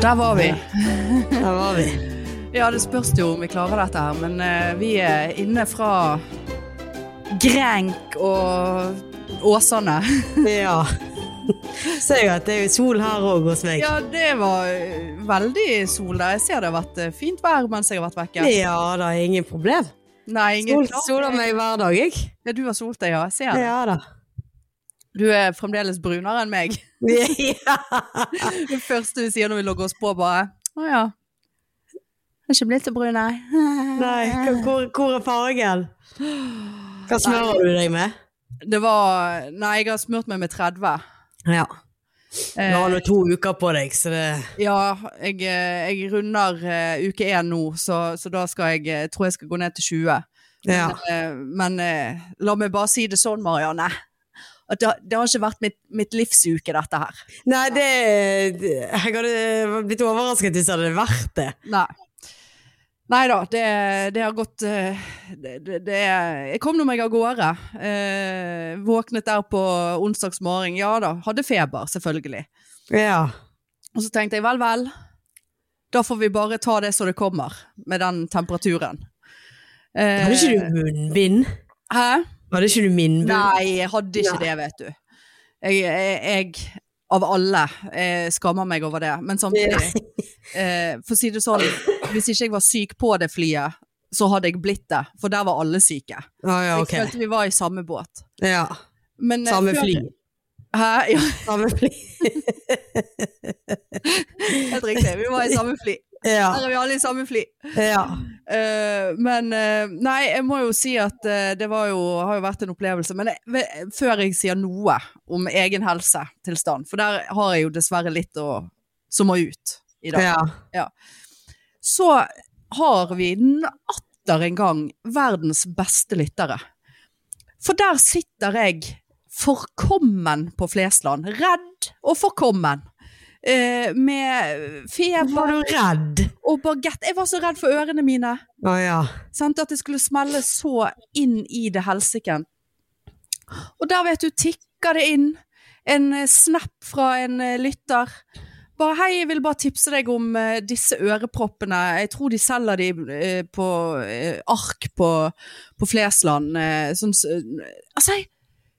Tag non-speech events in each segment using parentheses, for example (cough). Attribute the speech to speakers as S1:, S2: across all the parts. S1: Der var vi.
S2: Der var vi.
S1: Ja, det spørs jo om vi klarer dette her, men eh, vi er inne fra Grenk og (laughs) Åsane.
S2: Ja. Ser jo at det er jo sol her òg hos meg.
S1: Ja, det var eh, veldig sol der. Jeg ser det har vært eh, fint vær mens jeg har vært vekke.
S2: Ja da, ingen problem.
S1: Nei, ingen
S2: Sol, soler meg hver dag, jeg.
S1: Ja, du har solt deg, ja. Jeg ser det.
S2: Ja da.
S1: Du er fremdeles brunere (laughs) enn meg.
S2: (laughs) Ja.
S1: Det første vi sier når vi logger oss på, bare Å ja. Jeg er ikke blitt så brun, nei.
S2: Nei,
S1: (laughs)
S2: hvor, hvor er fargen? Hva smører du deg med?
S1: Det var Nei, jeg har smurt meg med 30.
S2: Ja. Du
S1: Eh,
S2: har nå to uker på deg, så det
S1: Ja, jeg, eh, jeg runder eh, uke én nå, så, så da skal jeg eh, tror jeg skal gå ned til 20.
S2: Ja.
S1: Eh, men eh, la meg bare si det sånn, Marianne. At det, har- det har ikke vært mitt, mitt livsuke, dette her.
S2: Nei, det Jeg hadde blitt overrasket hvis det hadde vært det.
S1: Nei. Nei da, det, det har gått eh, det, det, det, Jeg kom nå meg av gårde. Eh, våknet der på onsdags morgen. Ja da, hadde feber, selvfølgelig.
S2: Ja.
S1: Og så tenkte jeg vel, vel, da får vi bare ta det som det kommer med den temperaturen. Eh,
S2: Hadde ikke du munnbind?
S1: Hæ?
S2: Hadde ikke du munnbind?
S1: Nei, jeg hadde ikke det, vet du. Jeg, jeg, jeg av alle, eh, skammer meg over det. Men samtidig, (laughs) eh, for å si det sånn, hvis ikke jeg var syk på det flyet, så hadde jeg blitt det, for der var alle syke.
S2: Å ja,
S1: Jeg
S2: ok.
S1: følte vi var i samme båt.
S2: Ja.
S1: Men, eh,
S2: Samme
S1: før-
S2: fly.
S1: Hæ? Ja, (laughs)
S2: Samme fly.
S1: helt riktig. Vi var i samme fly.
S2: Ja.
S1: Her er vi alle i samme fly.
S2: ja.
S1: Eh, men eh, nei, jeg må jo si at eh, det var jo, har jo vært en opplevelse. Men jeg, ve- før jeg sier noe om egen helsetilstand, for der har jeg jo dessverre litt å, som må ut i dag,
S2: ja.
S1: så har vi n- atter en gang verdens beste lyttere. For der sitter jeg forkommen på Flesland, redd og forkommen. eh, med
S2: Var
S1: feber
S2: du redd?
S1: og bagett. Jeg var så redd for ørene mine.
S2: Å ja.
S1: Sant? At det skulle smelle så inn i det helsiken. Og der vet du, tikker det inn en eh, snap fra en eh, lytter. Bare hei, jeg vil bare tipse deg om eh, disse øreproppene. Jeg tror de selger de eh, på eh, ark på, på Flesland. eh, sånn, s- altså, jeg-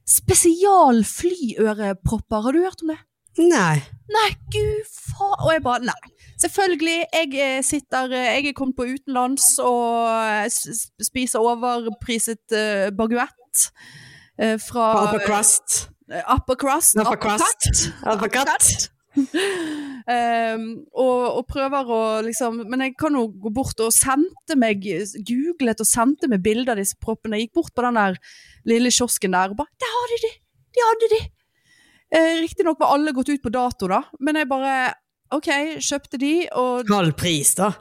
S1: spesialflyørepropper, har du hørt om det?
S2: Nei.
S1: Nei, gud faen! Og jeg bare nei. Selvfølgelig, jeg eh, sitter eh, Jeg er kommet på utenlands og eh, s- spiser overpriset eh, baguett eh, fra
S2: Upper crust.
S1: eh, Upper crust.
S2: Upper crust. Upper cut.
S1: Ehm, og, og prøver å liksom Men jeg kan jo gå bort og sendte meg Googlet og sendte meg bilder av disse proppene. Jeg gikk bort på den der lille kiosken der og bare Der hadde de! De hadde de! Eh, Riktignok var alle gått ut på dato, da, men jeg bare OK, kjøpte de, og
S2: Halv pris, da.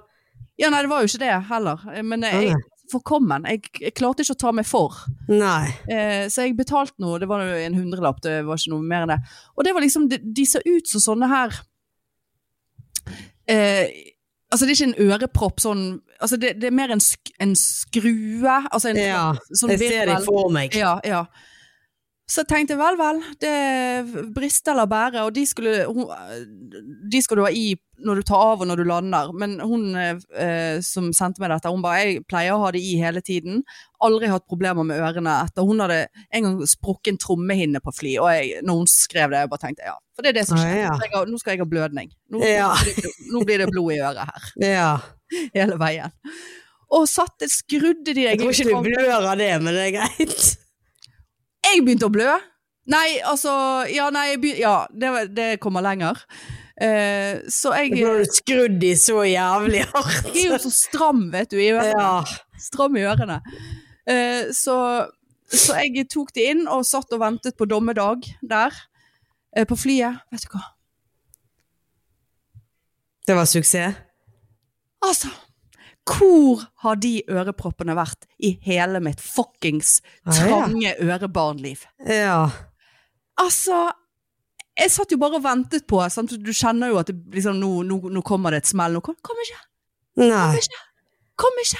S1: Ja, nei, det var jo ikke det heller, eh, men jeg,
S2: Nei.
S1: Forkommen. Jeg, jeg klarte ikke å ta meg for.
S2: Nei.
S1: Eh, så jeg betalte noe, det var jo en hundrelapp, det var ikke noe mer enn det. Og det var liksom, de, de ser ut som sånne her eh, Altså, det er ikke en ørepropp sånn altså Det, det er mer en, sk en skrue. Altså en
S2: Ja.
S1: sånn
S2: Jeg ser deg
S1: virvel.
S2: for meg.
S1: Ja, ja. Så jeg tenkte vel, vel, det brister eller bære, og de skulle, hun, de skal du ha i når du tar av og når du lander, men hun eh, som sendte meg dette, hun bare, jeg pleier å ha det i hele tiden, aldri hatt problemer med ørene etter, hun hadde en gang sprukket en trommehinne på fly, og jeg, når hun skrev det, jeg bare tenkte, ja, for det er det som
S2: Å,
S1: sånn skjer,
S2: ja.
S1: Jeg har- nå skal jeg ha blødning, nå,
S2: Ja.
S1: nå (laughs) blir det blod i øret her,
S2: ja.
S1: hele veien. Og satt, skrudde de
S2: Jeg tror ikke du blør av det, men det er greit.
S1: Jeg begynte å blø. Nei, altså Ja, nei, jeg begy- ja det, var- det kommer lenger. Eh, så jeg,
S2: Nå
S1: jeg
S2: har du skrudd de så jævlig hardt.
S1: er jo så stram, vet du. I ørene.
S2: Ja.
S1: Stram i ørene. Eh, så, så jeg tok de inn og satt og ventet på dommedag der. eh, på flyet. Vet du hva.
S2: Det var suksess.
S1: Altså! Hvor har de øreproppene vært i hele mitt fuckings
S2: Ah, ja.
S1: trange ørebarnliv?
S2: Ja.
S1: Altså Jeg satt jo bare og ventet på sant? Du kjenner jo at det, liksom, nå, nå, nå kommer det et smell. Nå kom, kom ikke!
S2: Nei.
S1: Kom ikke!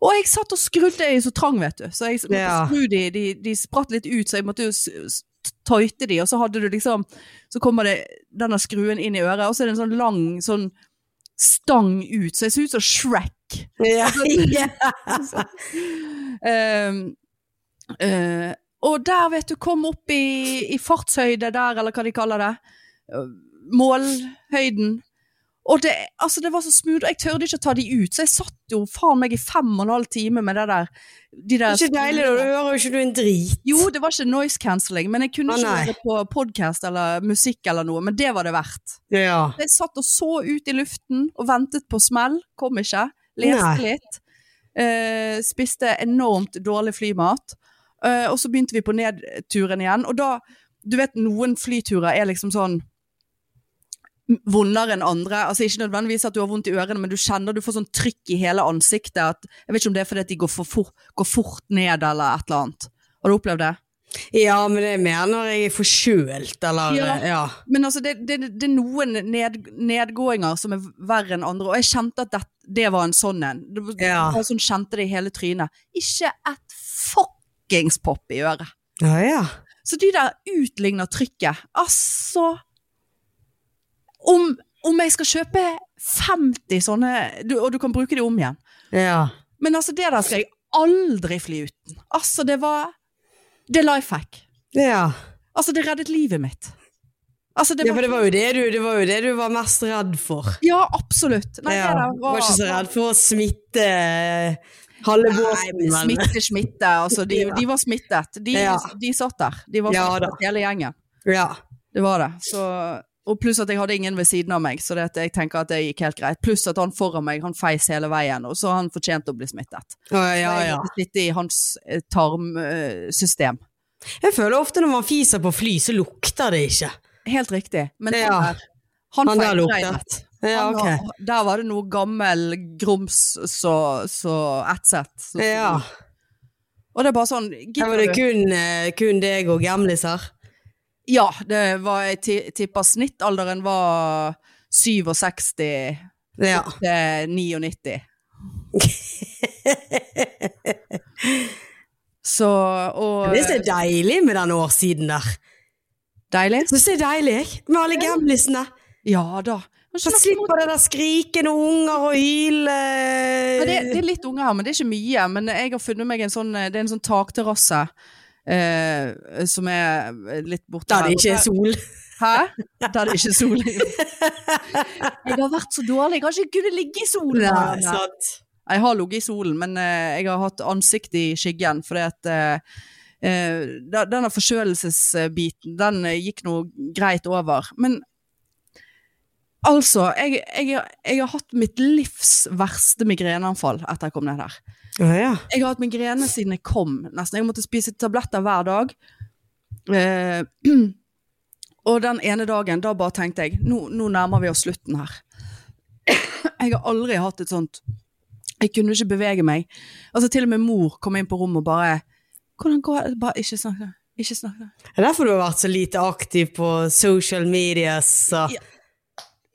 S1: Og jeg satt og skrudde i så trang, vet du. Så jeg måtte
S2: Ja.
S1: skru de, de, de spratt litt ut, så jeg måtte jo s- s- tøyte de, og så hadde du liksom Så kommer det denne skruen inn i øret, og så er det en sånn lang sånn stang ut, så jeg ser ut som Shrek.
S2: Ja.
S1: Altså, (laughs) Ehm, eh, og der, vet du, kom opp i, i fartshøyde der, eller hva de kaller det. eh, Målhøyden. Og det, altså det var så smooth, og jeg tørde ikke å ta de ut, så jeg satt jo faen meg i fem og en halv time med det der. De
S2: Det
S1: der
S2: er (laughs) ikke deilig, da. Du hører jo ikke du en drit.
S1: Jo, det var ikke noise cancelling, men jeg kunne
S2: Å,
S1: ikke
S2: nei.
S1: høre på podcast eller musikk eller noe, men det var det verdt.
S2: Ja.
S1: Jeg satt og så ut i luften og ventet på smell, kom ikke, leste
S2: Nei.
S1: litt, eh, spiste enormt dårlig flymat, eh, og så begynte vi på nedturen igjen, og da, du vet, noen flyturer er liksom sånn, m- vondere enn andre, altså ikke nødvendigvis at du har vondt i ørene, men du kjenner du får sånn trykk i hele ansiktet, at, jeg vet ikke om det er fordi at de går, for fort, går fort ned eller et eller annet. Har du opplevd det?
S2: ja, men det er mer når jeg er forkjølt, eller
S1: Ja.
S2: ja.
S1: Men altså, det, det, det er noen ned, nedgåinger som er verre enn andre, og jeg kjente at det, det var en sånn en. Det, var-
S2: Ja.
S1: Jeg sånn kjente det i hele trynet. Ikke et fuckings pop i øret.
S2: Ja, ja.
S1: Så de der utligner trykket. Altså Om, om jeg skal kjøpe 50 sånne, du, og du kan bruke de om igjen
S2: ja.
S1: Men altså, det der skal jeg aldri fly uten. Altså, det var Det er life hack.
S2: ja.
S1: Altså, det reddet livet mitt. Altså, det
S2: ja
S1: var
S2: for det var, jo det, du, det var jo det du var mest redd for.
S1: Ja, absolutt. Nei,
S2: Ja.
S1: det der
S2: Du var ikke så redd for å smitte eh, halve
S1: Nei,
S2: båten.
S1: men
S2: men-
S1: smitte, smitte. Altså, de,
S2: Ja.
S1: de var smittet. De,
S2: Ja.
S1: de satt der. De var
S2: Ja,
S1: smittet, hele gjengen.
S2: Ja.
S1: Det var det. Så, og pluss at jeg hadde ingen ved siden av meg, så det at jeg tenker at det gikk helt greit. Pluss at han foran meg, han feis hele veien, og så han fortjente å bli smittet.
S2: Å, ja,
S1: Jeg
S2: ja.
S1: måtte Sitte i hans eh, tarmsystem.
S2: Jeg føler ofte når man fiser på fly, så lukter det ikke.
S1: Helt riktig. Men han
S2: Ja.
S1: der, han,
S2: Han der
S1: feilregnet.
S2: luktet. Ja,
S1: Han
S2: ok.
S1: var- Der var det noe gammel grums så, så etset. Så-
S2: Ja.
S1: Og det er bare sånn
S2: Her var
S1: gidder
S2: det
S1: du?
S2: kun, eh, kun deg og gamliser.
S1: Ja, det var, jeg ti- tipper snittalderen var 67
S2: Ja.
S1: til
S2: (laughs)
S1: 99. Så, og eh,
S2: Det er så deilig med den årssiden der.
S1: Deilig?
S2: Så det er deilig, jeg. Med alle gamlisene.
S1: Ja da. Men
S2: Så
S1: ikke noe imot-
S2: slipper det der skrikende unger og hyl.
S1: Ja, det,
S2: eh.
S1: det er litt unger her, men det er ikke mye. Men jeg har funnet meg en sånn, det er en sånn takterrasse eh, som er eh, litt borte
S2: Da er det
S1: her.
S2: ikke er sol.
S1: (laughs) Hæ? Der det ikke er
S2: (laughs)
S1: sol. jeg har vært så dårlig, jeg har ikke kunnet ligge i
S2: (laughs)
S1: solen.
S2: Nei, sant.
S1: Jeg har ligget i solen, men eh, jeg har hatt ansiktet i skyggen, fordi at eh, eh, da- denne forkjølelsesbiten, den eh, gikk nå greit over. Men altså, jeg, jeg, jeg har hatt mitt livs verste migreneanfall etter jeg kom ned her.
S2: Å, ja.
S1: Jeg har hatt migrene siden jeg kom, nesten. Jeg måtte spise tabletter hver dag. Eh, (clears throat) og den ene dagen, da bare tenkte jeg, nå, nå nærmer vi oss slutten her. (clears throat) Jeg har aldri hatt et sånt Jeg kunne ikke bevege meg. Altså, til og med mor kom inn på rommet og bare 'Hvordan går det?' Bare ikke snakk nå. Ikke snakk nå.
S2: Det er derfor du har vært så lite aktiv på social media. Så.
S1: Ja.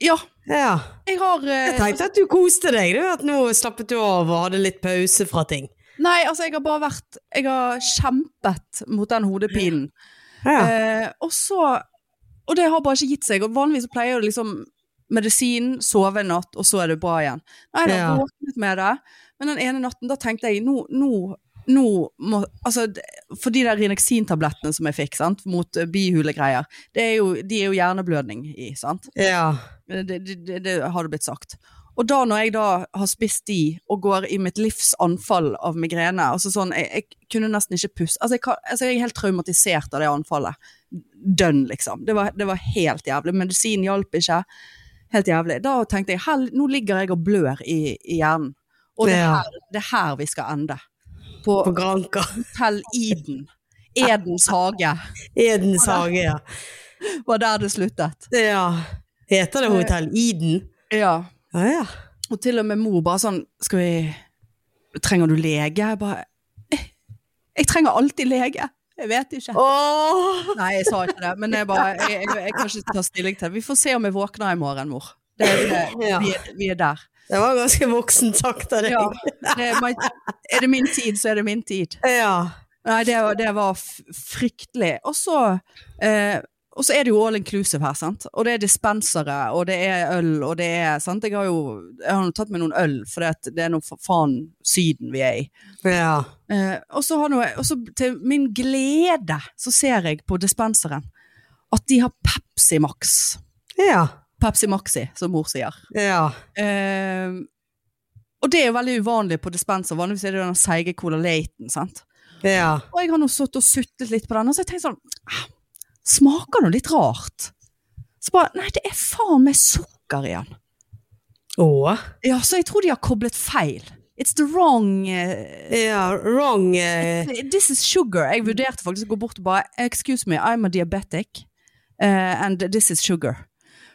S1: Ja,
S2: Ja.
S1: jeg har
S2: Jeg
S1: eh,
S2: tenkte at du koste deg, du. At nå slappet du av og hadde litt pause fra ting.
S1: Nei, altså, jeg har bare vært Jeg har kjempet mot den hodepinen.
S2: Ja.
S1: Eh, og så Og det har bare ikke gitt seg. Og vanligvis så pleier det liksom medisin, sove en natt, og så er det bra igjen. Nei, jeg har
S2: Ja.
S1: våknet med det, men den ene natten da tenkte jeg nå, nå, nå må Altså, d- for de der Rinexin-tablettene som jeg fikk, sant, mot eh, bihulegreier, det er jo, de er jo hjerneblødning i, sant.
S2: ja.
S1: Eh, Det, det, det, det har det blitt sagt. Og da når jeg da har spist de, og går i mitt livs anfall av migrene altså sånn, jeg, jeg kunne nesten ikke puste. Altså jeg, kan, altså jeg er helt traumatisert av det anfallet. Dønn, liksom. Det var, det var helt jævlig. Medisin hjalp ikke. Helt jævlig. Da tenkte jeg hell, nå ligger jeg og blør i, i hjernen. Og det er
S2: Ja.
S1: her, det er her vi skal ende. På
S2: På Granka.
S1: Hotell Eden. Edens hage
S2: Edens hage, ja.
S1: var der det sluttet.
S2: ja. Heter det Hotell Eden?
S1: Ja.
S2: Ja, ja.
S1: Og til og med mor bare sånn Skal vi Trenger du lege? Jeg bare «Eh, Jeg trenger alltid lege. Jeg vet ikke.
S2: Åh!
S1: Nei, jeg sa ikke det. Men jeg bare Jeg, jeg, jeg kan ikke ta stilling til det. Vi får se om jeg våkner i morgen, mor. Det, det,
S2: Ja.
S1: vi, er, vi er der.
S2: Det var ganske voksen sagt av deg.
S1: Ja. Det er, my, er det min tid, så er det min tid.
S2: Ja.
S1: Nei, det, var- det var f- fryktelig. Og så eh, og så er det jo all inclusive her, sant. Og det er dispensere, og det er øl, og det er sant? Jeg har jo jeg har jo tatt med noen øl, for det, det er noe for faen Syden vi er i.
S2: Ja.
S1: Eh, og så har nå jeg- og så til min glede så ser jeg på dispenseren at de har Pepsi Max.
S2: Ja.
S1: Pepsi Maxi, som mor sier.
S2: ja.
S1: Eh, og det er jo veldig uvanlig på dispenser. Vanligvis er det jo den seige Cola Laten, sant.
S2: ja.
S1: Og jeg har nå sittet og suttet litt på den, og så har jeg tenkt sånn "Ah, Smaker nå litt rart. Så bare Nei, det er faen meg sukker i den.
S2: Åh.
S1: Ja, så jeg tror de har koblet feil. It's the wrong eh,
S2: Ja, wrong eh,
S1: This is sugar. Jeg vurderte faktisk å gå bort og bare Excuse me, I'm a diabetic, eh, and this is sugar.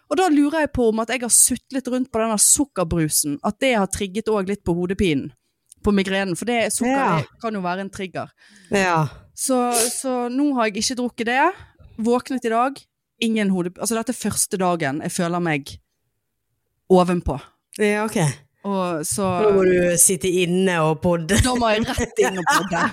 S1: Og da lurer jeg på om at jeg har sutlet rundt på denne sukkerbrusen, at det har trigget òg litt på hodepinen. På migrenen. For det sukker
S2: Ja.
S1: det kan jo være en trigger.
S2: Ja.
S1: Så, så nå har jeg ikke drukket det. Våknet i dag. Ingen hode... Altså, dette er første dagen jeg føler meg ovenpå.
S2: Ja, ok.
S1: Og så
S2: Nå må du sitte inne og podde.
S1: Da må jeg rett inn og podde.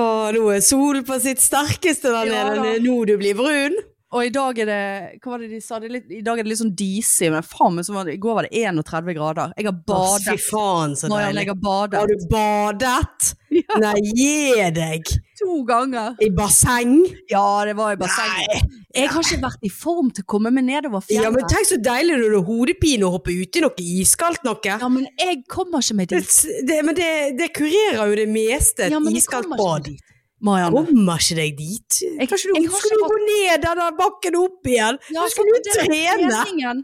S2: Åh, nå er solen på sitt sterkeste der
S1: Ja,
S2: nede. Det
S1: da.
S2: er nå du blir brun.
S1: (laughs) Og i dag er det Hva var det de sa? Det er litt, I dag er det litt sånn disig, men faen meg, så var det, i går var det 31 grader. Jeg har
S2: Åh, Fy
S1: badet.
S2: faen, så
S1: Marianne,
S2: deilig.
S1: jeg har badet
S2: Har du badet?
S1: Ja.
S2: Nei, gi deg!
S1: to ganger.
S2: I basseng?
S1: Ja, det var i bassenget. Jeg har ikke vært i form til å komme meg nedover
S2: Ja,
S1: fjellet.
S2: men tenk så deilig når du har hodepine og hopper uti noe iskaldt noe.
S1: Ja, men jeg kommer ikke meg
S2: Det,
S1: dit.
S2: det, men det, det kurerer jo det meste, et
S1: Ja, men jeg
S2: iskaldt
S1: kommer ikke
S2: bad.
S1: meg dit. Marianne.
S2: Kommer ikke deg dit?
S1: Jeg-
S2: Kanskje du
S1: jeg har
S2: skulle
S1: ikke
S2: du gå ned den der bakken og opp igjen?
S1: Ja,
S2: så skulle
S1: sant,
S2: du
S1: det er
S2: trene!
S1: treningen.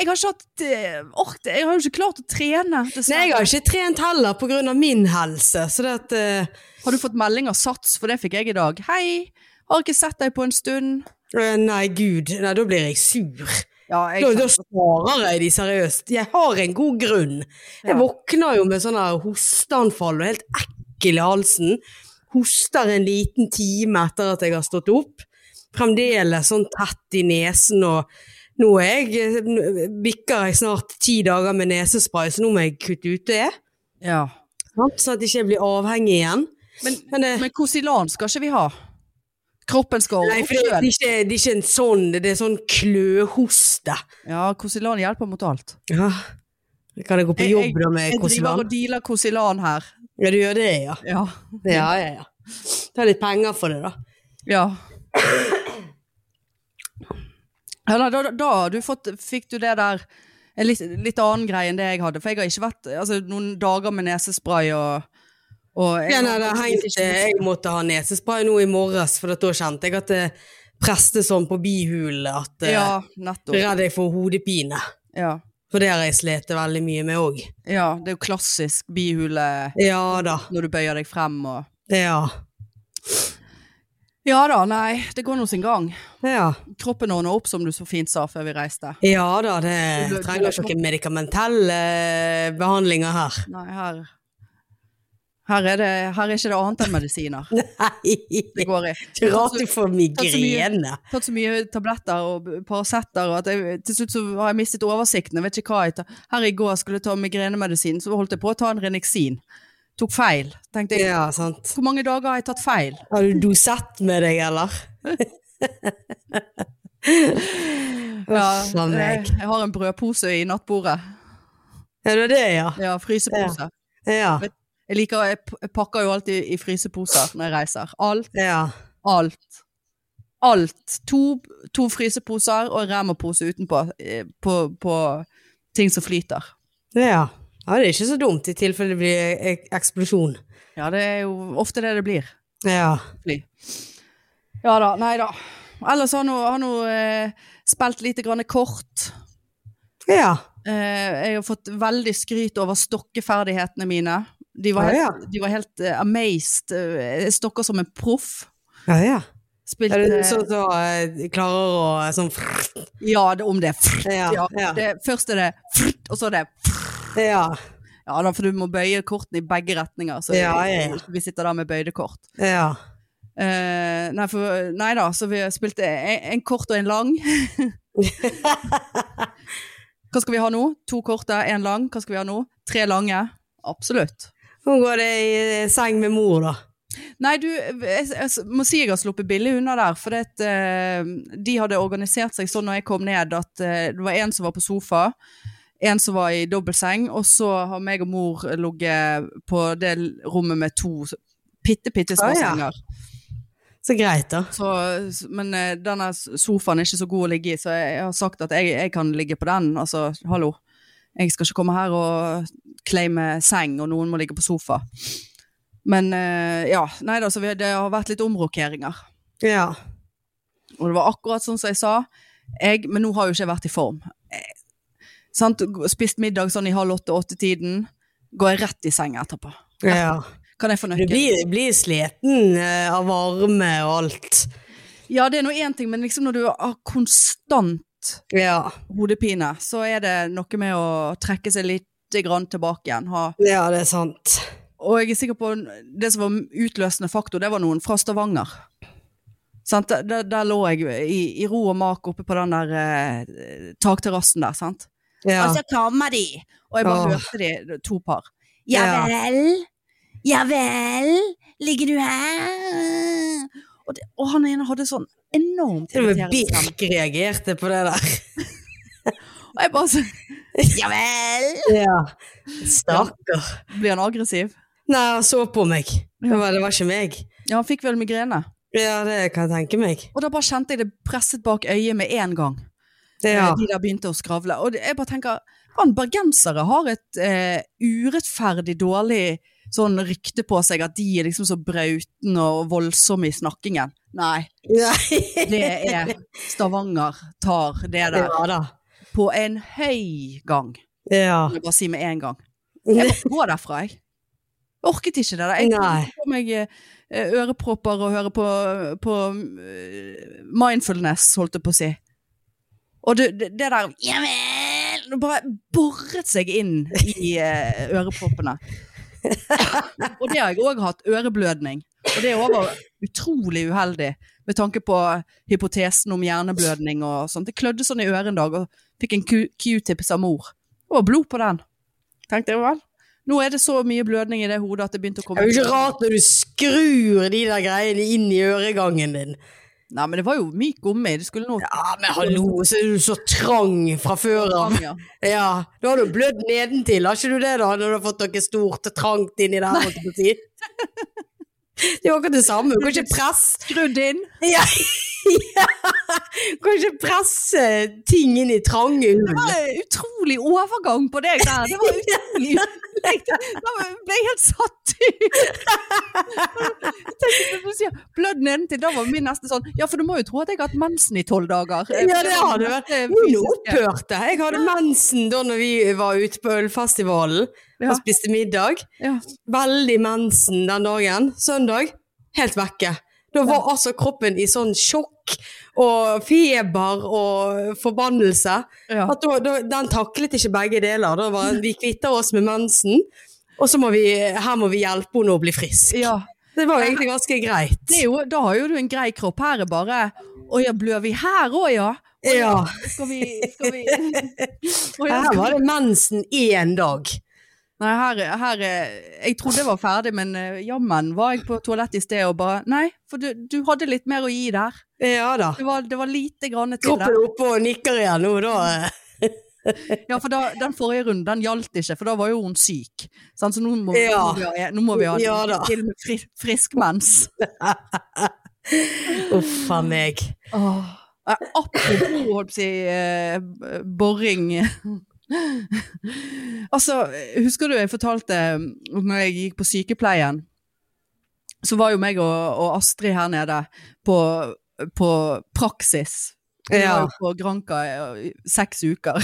S1: Jeg har ikke hatt eh, ork, Jeg har jo ikke klart å trene,
S2: Nei, jeg
S1: dessverre.
S2: har ikke trent heller på grunn av min helse, så det at eh,
S1: Har du fått melding av Sats, for det fikk jeg i dag. Hei, har ikke sett deg på en stund.
S2: øh, Nei, gud. Nei, da blir jeg sur.
S1: Ja,
S2: Da,
S1: jeg
S2: da svarer jeg de seriøst. Jeg har en god grunn. Jeg
S1: Ja.
S2: våkner jo med sånne hosteanfall og helt ekkel i halsen. Hoster en liten time etter at jeg har stått opp. Fremdeles sånn tett i nesen og nå er jeg, nå bikker jeg snart ti dager med nesespray, så nå må jeg kutte ut det.
S1: ja.
S2: sant? Sånn at jeg ikke blir avhengig igjen.
S1: Men,
S2: Men, eh,
S1: men Kosilan skal ikke vi ha? Kroppen skal
S2: nei,
S1: opp
S2: for det, det, er
S1: selv.
S2: ikke, det er ikke en sånn, det er sånn kløhoste.
S1: Ja, Kosilan hjelper mot alt.
S2: Ja. Kan jeg gå på
S1: Jeg-
S2: jobb da med
S1: Jeg driver
S2: Kosivan?
S1: og dealer Kosilan her.
S2: Ja, du gjør det, ja.
S1: Ja.
S2: Ja, ja, ja. Ta litt penger for det, da.
S1: ja. ja nei, da da, da har du fått, fikk du det der en litt, litt annen greie enn det jeg hadde. For jeg har ikke vært altså, noen dager med nesespray og, og jeg
S2: Ja, nei,
S1: har
S2: det
S1: faktisk
S2: hengte,
S1: ikke-
S2: jeg måtte ha nesespray nå i morges, for at da kjente jeg at det preste sånn på bihulen at eh,
S1: Ja, nettopp.
S2: Redd jeg får hodepine.
S1: Ja.
S2: For det har jeg slitt veldig mye med òg.
S1: ja, det er jo klassisk bihule
S2: Ja da.
S1: når du bøyer deg frem og
S2: Ja.
S1: Ja da, nei, det går nå sin gang.
S2: Ja,
S1: kroppen ordner opp, som du så fint sa før vi reiste.
S2: ja da, det
S1: Du- du-
S2: trenger ikke noen medikamentelle behandlinger her. (laughs)
S1: Nei, her her er, det, her er ikke det annet enn medisiner
S2: Nei!
S1: det går i.
S2: Ikke Rart du
S1: så
S2: får
S1: mye-
S2: migrene.
S1: Jeg har tatt så mye tabletter og Paracet og at jeg, til slutt så har jeg mistet oversikten. Jeg vet ikke hva jeg tar. Her i går skulle jeg ta migrenemedisin, så holdt jeg på å ta en Renixin. Tok feil. Tenkte jeg,
S2: Ja, sant.
S1: hvor mange dager har jeg tatt feil?
S2: Har du dosett med deg, (laughs) eller?
S1: Ja,
S2: Uff a meg.
S1: eh, jeg har en brødpose i nattbordet.
S2: Er det det, ja?
S1: Ja, frysepose.
S2: Ja.
S1: Jeg liker, jeg p- jeg pakker jo alltid i fryseposer når jeg reiser. Alt
S2: Ja.
S1: alt. Alt. To, to fryseposer og en Rema-pose utenpå eh, på, på ting som flyter.
S2: Ja. ja, det er ikke så dumt i tilfelle det blir ek- eksplosjon.
S1: Ja, det er jo ofte det det blir.
S2: Ja.
S1: Fly. Ja da, nei da. Ellers har nå har nå, eh, spilt lite grann kort.
S2: Ja.
S1: Eh, jeg har fått veldig skryt over stokkeferdighetene mine. De var
S2: Ja,
S1: helt,
S2: ja.
S1: De var helt eh, amazed. Eh, Jeg stokker som en proff.
S2: Ja, ja.
S1: Spilte
S2: Er det sånn at du eh, klarer å eh, sånn (laughs) frrt?
S1: Ja, det, om det er frutt, ja.
S2: Ja, ja.
S1: Det, først er det frutt, og så er det
S2: Ja.
S1: Ja da, for du må bøye kortene i begge retninger, så
S2: Ja, ja, ja.
S1: vi sitter der med bøyde kort.
S2: Ja.
S1: Eh, nei, for, nei da, så vi spilte en, en kort og en lang. Hva skal vi ha nå? To korte, én lang. Hva skal vi ha nå? Tre lange. Absolutt.
S2: Nå går det i eh, seng med mor, da.
S1: Nei, du, jeg, jeg må si jeg har sluppet billig unna der, for det, at, eh, de hadde organisert seg sånn når jeg kom ned, at eh, det var en som var på sofa, en som var i dobbeltseng, og så har meg og mor ligget på det rommet med to s- bitte, bitte små
S2: Ah, ja.
S1: senger.
S2: Så greit, da.
S1: Så, s- men eh, denne s- sofaen er ikke så god å ligge i, så jeg, jeg har sagt at jeg, jeg kan ligge på den. Altså, hallo. Jeg skal ikke komme her og claime seng, og noen må ligge på sofa. Men eh, ja, nei da, så vi, det har vært litt omrokeringer.
S2: Ja.
S1: Og det var akkurat sånn som jeg sa. Jeg, men nå har jo ikke jeg vært i form. Eh, sant? Spist middag sånn i halv åtte-åtte-tiden. Går jeg rett i seng etterpå.
S2: ja.
S1: Kan jeg få
S2: Du
S1: nøkkelen?
S2: blir, blir sliten eh, av varme og alt.
S1: Ja, det er nå én ting, men liksom når du har konstant
S2: Ja.
S1: hodepine, så er det noe med å trekke seg lite grann tilbake igjen. Ha.
S2: ja, det er sant.
S1: Og jeg er sikker på det som var utløsende faktor, det var noen fra Stavanger. Sant? Der, der- der lå jeg i, i ro og mak oppe på den der eh, takterrassen der, sant.
S2: Ja.
S1: Og så kommer de, og jeg bare
S2: Åh.
S1: hørte de, to par.
S2: Ja.
S1: vel, ja vel, ligger du her? Og, det, og han ene hadde sånn enormt
S2: Til og med
S1: irriterende stemme.
S2: Birk reagerte på det der.
S1: Og jeg bare sånn, (laughs) ja vel.
S2: (laughs) Ja. Stakkar.
S1: Blir han aggressiv?
S2: Nei, han så på meg. Det var, det var ikke meg.
S1: Ja, han fikk vel migrene.
S2: Ja, det kan jeg tenke meg.
S1: Og da bare kjente jeg det presset bak øyet med en gang.
S2: Ja.
S1: Eh, De der begynte å skravle. Og det- jeg bare tenker, han bergensere har et eh, urettferdig dårlig sånn rykte på seg at de er liksom så brautende og voldsomme i snakkingen. Nei,
S2: Nei.
S1: det er Stavanger tar det der
S2: Ja da.
S1: på en høy gang.
S2: Ja.
S1: Kan jeg bare si med en
S2: (laughs)
S1: gang. Jeg måtte gå derfra, jeg. Jeg Orket ikke det der. Jeg
S2: Nei.
S1: tok på meg eh, ørepropper og høre på, på eh, mindfulness, holdt jeg på å si. Og det, det, det der Ja vel! Det bare boret seg inn i eh,
S2: (laughs)
S1: øreproppene. og det har jeg òg hatt. Øreblødning. Og det òg var utrolig uheldig med tanke på hypotesen om hjerneblødning og sånt. Jeg klødde sånn i øret en dag og fikk en Q- q-tips av mor. Det var blod på den. Tenkte jeg vel. Nå er det så mye blødning i det hodet at det begynte å
S2: Det
S1: komme
S2: er jo ikke rart når du skrur de der greiene inn i øregangen din.
S1: Nei, men det var jo myk gummi. Det skulle nå
S2: Ja, men hallo, så er du så trang fra før av.
S1: Ja.
S2: Ja, da har du blødd nedentil, har ikke du det da? Når du har fått noe stort og trangt inni der, holdt jeg på å si. Det er jo akkurat det samme, du kan ikke presse
S1: Skrudd inn.
S2: ja. ja. Du kan ikke presse ting inn i trange
S1: Det
S2: hull.
S1: var en utrolig overgang på deg der. Det var utrolig Da ble jeg helt satt ut. Jeg tenkte når du sier blødd nedentil, da var min neste sånn Ja, for du må jo tro at jeg har hatt mensen i tolv dager.
S2: Ja, det har du vært.
S1: Det er
S2: Nå
S1: fysisk.
S2: opphørte jeg. Jeg hadde mensen da når vi var ute på ølfestivalen
S1: Ja.
S2: og spiste middag.
S1: Ja.
S2: Veldig mensen den dagen. Søndag, helt vekke. Da var altså kroppen i sånn sjokk og feber og forbannelse.
S1: Ja.
S2: At da, da, den taklet ikke begge deler. Da var vi kvitter oss med mensen, og så må vi, her må vi hjelpe henne å bli frisk.
S1: ja.
S2: Det var egentlig ganske greit.
S1: Det er jo, da har jo du en grei kropp. Her er bare Å ja, blør vi her òg, ja? Å
S2: Ja.
S1: Skal vi Skal
S2: (laughs)
S1: vi Å ja,
S2: Her
S1: skal vi
S2: var det mensen én dag.
S1: Nei, her, her eh, Jeg trodde jeg var ferdig, men eh, jammen var jeg på toalettet i sted og bare Nei, for du, du hadde litt mer å gi der.
S2: Ja da.
S1: Det var, det var lite grann til
S2: Kroppen
S1: der.
S2: er oppe og nikker igjen nå, da.
S1: Ja, for da, den forrige runden den gjaldt ikke, for da var jo hun syk. Sant? Så nå må,
S2: Ja.
S1: nå må vi ha, nå må vi ha
S2: Ja da.
S1: til og med fri, frisk mens.
S2: Uff a meg.
S1: Åh. Eh, Apropos holdt på å si, eh, b- boring (laughs) Altså, husker du jeg fortalte eh, når jeg gikk på sykepleien, så var jo meg og, og Astrid her nede på, på praksis. Vi var
S2: Ja.
S1: jo på Granka eh, i seks uker.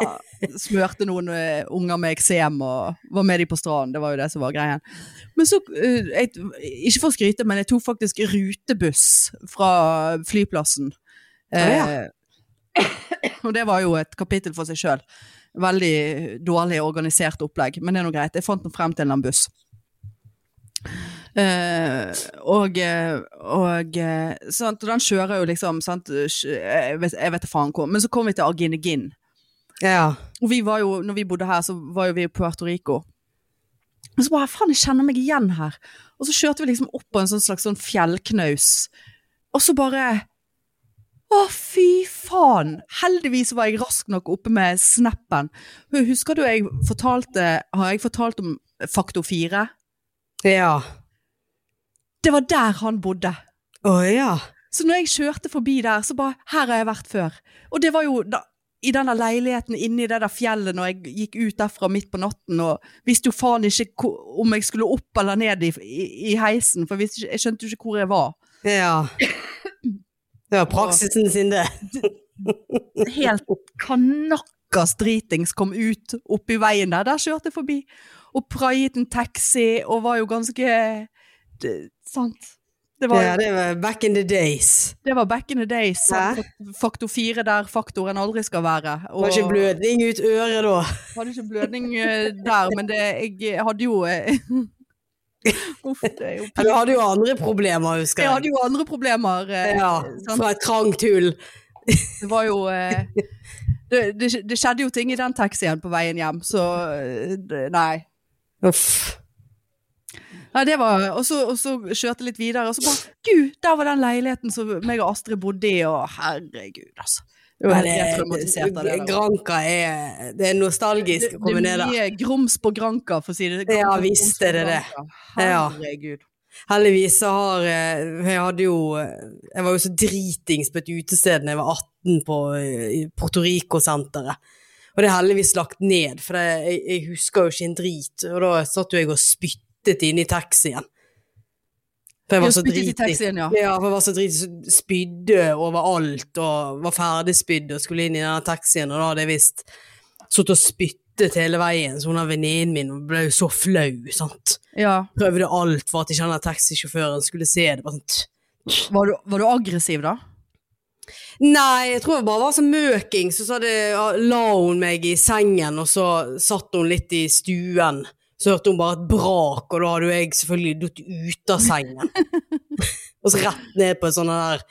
S1: Ja, (laughs) smørte noen eh, unger med eksem og var med de på stranden, det var jo det som var greien. Men så, eh, jeg, ikke for å skryte, men jeg tok faktisk rutebuss fra flyplassen.
S2: Å,
S1: Eh, og det var jo et kapittel for seg sjøl. Veldig dårlig organisert opplegg, men det er nå greit. Jeg fant nå frem til en eller annen buss. Eh, og eh, og eh, sant, og den kjører jo liksom sant, kjø- Jeg vet jeg vet da faen hvor. Men så kom vi til Arginegin.
S2: Ja.
S1: Og vi var jo, når vi bodde her, så var jo vi i Puerto Rico. Og så bare faen, jeg kjenner meg igjen her. Og så kjørte vi liksom opp på en sånn slags sånn fjellknaus. Og så bare Å, fy faen! Heldigvis var jeg rask nok oppe med snappen. Husker du jeg fortalte Har jeg fortalt om faktor fire?
S2: Ja.
S1: Det var der han bodde.
S2: Å ja.
S1: Så når jeg kjørte forbi der, så bare Her har jeg vært før. Og det var jo da, i denne leiligheten inni det der fjellet når jeg gikk ut derfra midt på natten og visste jo faen ikke ko- om jeg skulle opp eller ned i, i, i heisen, for jeg, visste ikke, jeg skjønte jo ikke hvor jeg var.
S2: Ja. Det var praksisen sin, det.
S1: Helt kanakkas dritings kom ut oppi veien der. Der kjørte jeg forbi. Og praiet en taxi og var jo ganske det, Sant. Det var,
S2: Ja, det var back in the days.
S1: det var back in the days.
S2: Hæ?
S1: Faktor fire der faktoren aldri skal være.
S2: Det var ikke blødning ut øret da.
S1: Hadde ikke blødning eh, der, men det, jeg hadde jo eh, (laughs) Uff, det er jo
S2: Ja, Du hadde jo andre problemer, husker
S1: Jeg
S2: jeg.
S1: hadde jo andre problemer. eh,
S2: Ja,
S1: sant?
S2: fra et trangt hull.
S1: Det var jo eh, det, det, det skjedde jo ting i den taxien på veien hjem, så eh, det- Nei.
S2: Uff.
S1: Nei, det var, og, så, og så kjørte jeg litt videre, og så bare Gud, der var den leiligheten som meg og Astrid bodde i, og herregud, altså. Det var
S2: Ja,
S1: helt traumatisert av det. der.
S2: Granka er, det er nostalgisk å komme
S1: det
S2: ned
S1: er
S2: der.
S1: mye grums på granka, for å si det
S2: Ja, visst er det det. Ja.
S1: Herregud.
S2: Heldigvis så har eh, Jeg hadde jo eh, Jeg var jo så dritings på et utested da jeg var 18 på eh, i Puerto Rico-senteret. Og det er heldigvis lagt ned, for det, jeg, jeg husker jo ikke en drit. Og da satt jo jeg og spyttet inne i taxien. For jeg
S1: Ja,
S2: var så
S1: spyttet i
S2: dritings.
S1: taxien, ja.
S2: Ja, for jeg var så dritings. så Spydde overalt og var ferdigspydd og skulle inn i denne taxien, og da hadde jeg visst sittet og spyttet hele veien. Så hun av venninnen min og ble jo så flau, sant
S1: Ja.
S2: prøvde alt for at ikke han der taxisjåføren skulle se det. Bare sånn, tch.
S1: Var du, var du aggressiv da?
S2: Nei, jeg tror jeg bare var sånn møking, så, så hadde, la hun meg i sengen, og så satt hun litt i stuen. Så hørte hun bare et brak, og da hadde jo jeg selvfølgelig datt ut av (laughs) sengen. og så rett ned på et sånt der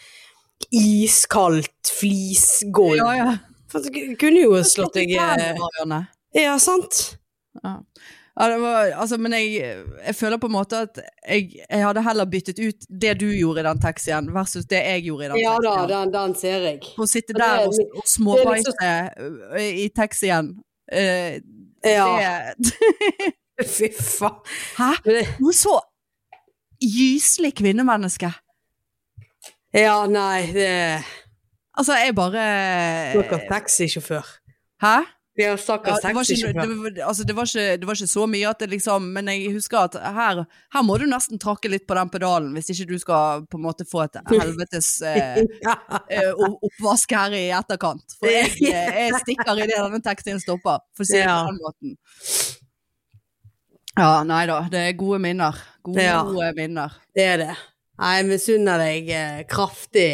S2: iskaldt flisgulv.
S1: Ja, ja.
S2: For så Kunne jo (laughs) slått deg eh,
S1: Marianne.
S2: Ja, sant?
S1: Ja. Ja, det var, altså, men jeg, jeg føler på en måte at jeg, jeg hadde heller byttet ut det du gjorde i den taxien, versus det jeg gjorde i den
S2: Ja da,
S1: taxien.
S2: den, den ser jeg.
S1: Å sitte
S2: Ja, det
S1: der
S2: er
S1: og,
S2: litt-
S1: og småbeite
S2: det
S1: ø, i taxien eh,
S2: Ja.
S1: det,
S2: (laughs) Fy faen.
S1: Hæ?
S2: Men det-
S1: Noe så gyselig kvinnemenneske.
S2: Ja, nei, det
S1: Altså, jeg bare
S2: Stakkars taxisjåfør.
S1: Hæ?
S2: Ja,
S1: Ja,
S2: stakkars
S1: det, var ikke,
S2: (laughs) taxisjåfør.
S1: det, var- altså, det, var ikke, det var ikke så mye at det liksom Men jeg husker at her, her må du nesten trakke litt på den pedalen hvis ikke du skal på en måte få
S2: (laughs)
S1: et helvetes eh, eh, o- oppvask her i etterkant. For
S2: (laughs)
S1: jeg, eh, jeg stikker idet denne taxien stopper, for å si det
S2: Ja.
S1: på den måten. Ja, nei da. Det er gode minner. Gode
S2: Ja.
S1: minner.
S2: Det er det. Nei, jeg misunner deg eh, kraftig.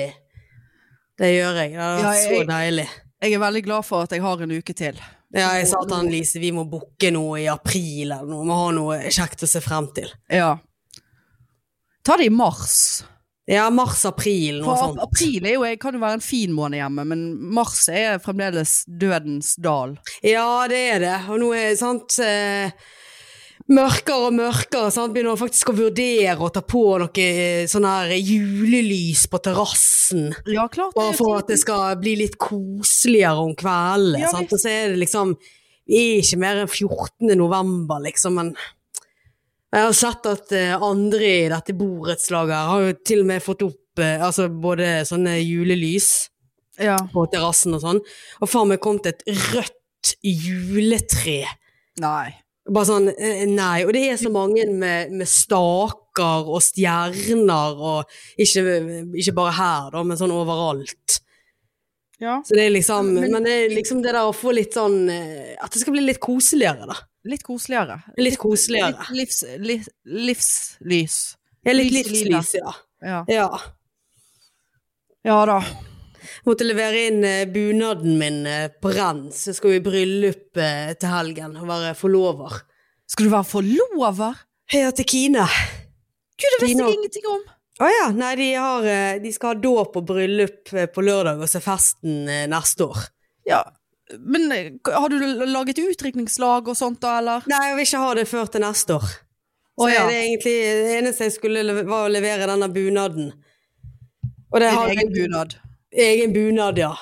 S2: Det gjør jeg. Det hadde
S1: Ja,
S2: vært så
S1: jeg-
S2: deilig.
S1: Jeg er veldig glad for at jeg har en uke til.
S2: Ja, jeg sa til han Lise vi må booke noe i april eller noe. Vi må ha noe kjekt å se frem til.
S1: Ja. Ta det i mars.
S2: Ja, mars-april, noe
S1: For ap-
S2: sånt.
S1: april er jo, jeg kan jo være en fin måned hjemme, men mars er fremdeles dødens dal.
S2: Ja, det er det. Og nå er det sant eh, Mørkere og mørkere. Sant? Begynner man faktisk å vurdere å ta på noe eh, sånn her julelys på terrassen.
S1: Ja, klart.
S2: Bare
S1: er
S2: for
S1: jo
S2: at det skal bli litt koseligere om kvelden.
S1: Ja,
S2: sant? Og så er det liksom Vi er ikke mer enn 14. november, liksom, men jeg har sett at eh, andre i dette borettslaget har jo til og med fått opp eh, altså både sånne julelys
S1: tidlig. Ja.
S2: på terrassen og sånn, og faen meg kom til et rødt juletre.
S1: Nei.
S2: Bare sånn, eh, nei, og det er så mange med, med staker og stjerner og ikke, ikke bare her da, men sånn overalt.
S1: Ja.
S2: Så det er liksom,
S1: Men-
S2: men, det er liksom det der å få litt sånn, eh, at det skal bli litt koseligere da.
S1: Litt koseligere.
S2: Litt koseligere.
S1: Litt livs, liv, livslys.
S2: Ja, litt
S1: lys i
S2: livslys, ja.
S1: Ja.
S2: Ja.
S1: ja da.
S2: Måtte levere inn eh, bunaden min eh, på rens, jeg skal jo i bryllup eh, til helgen og være forlover.
S1: Skal du være forlover?
S2: Hei, til Kine.
S1: Gud, det visste
S2: Dino.
S1: jeg ingenting om.
S2: Å ja, nei, de, har, eh, de skal ha dåp og bryllup eh, på lørdag, og så er festen eh, neste år.
S1: Ja. Men eh, har du laget utdrikningslag og sånt da, eller?
S2: Nei, jeg vil ikke ha det før til neste år. Så
S1: Å, ja.
S2: er det egentlig det eneste jeg skulle, leve- var å levere denne bunaden. Og det
S1: Din
S2: har
S1: egen bunad.
S2: egen bunad, ja.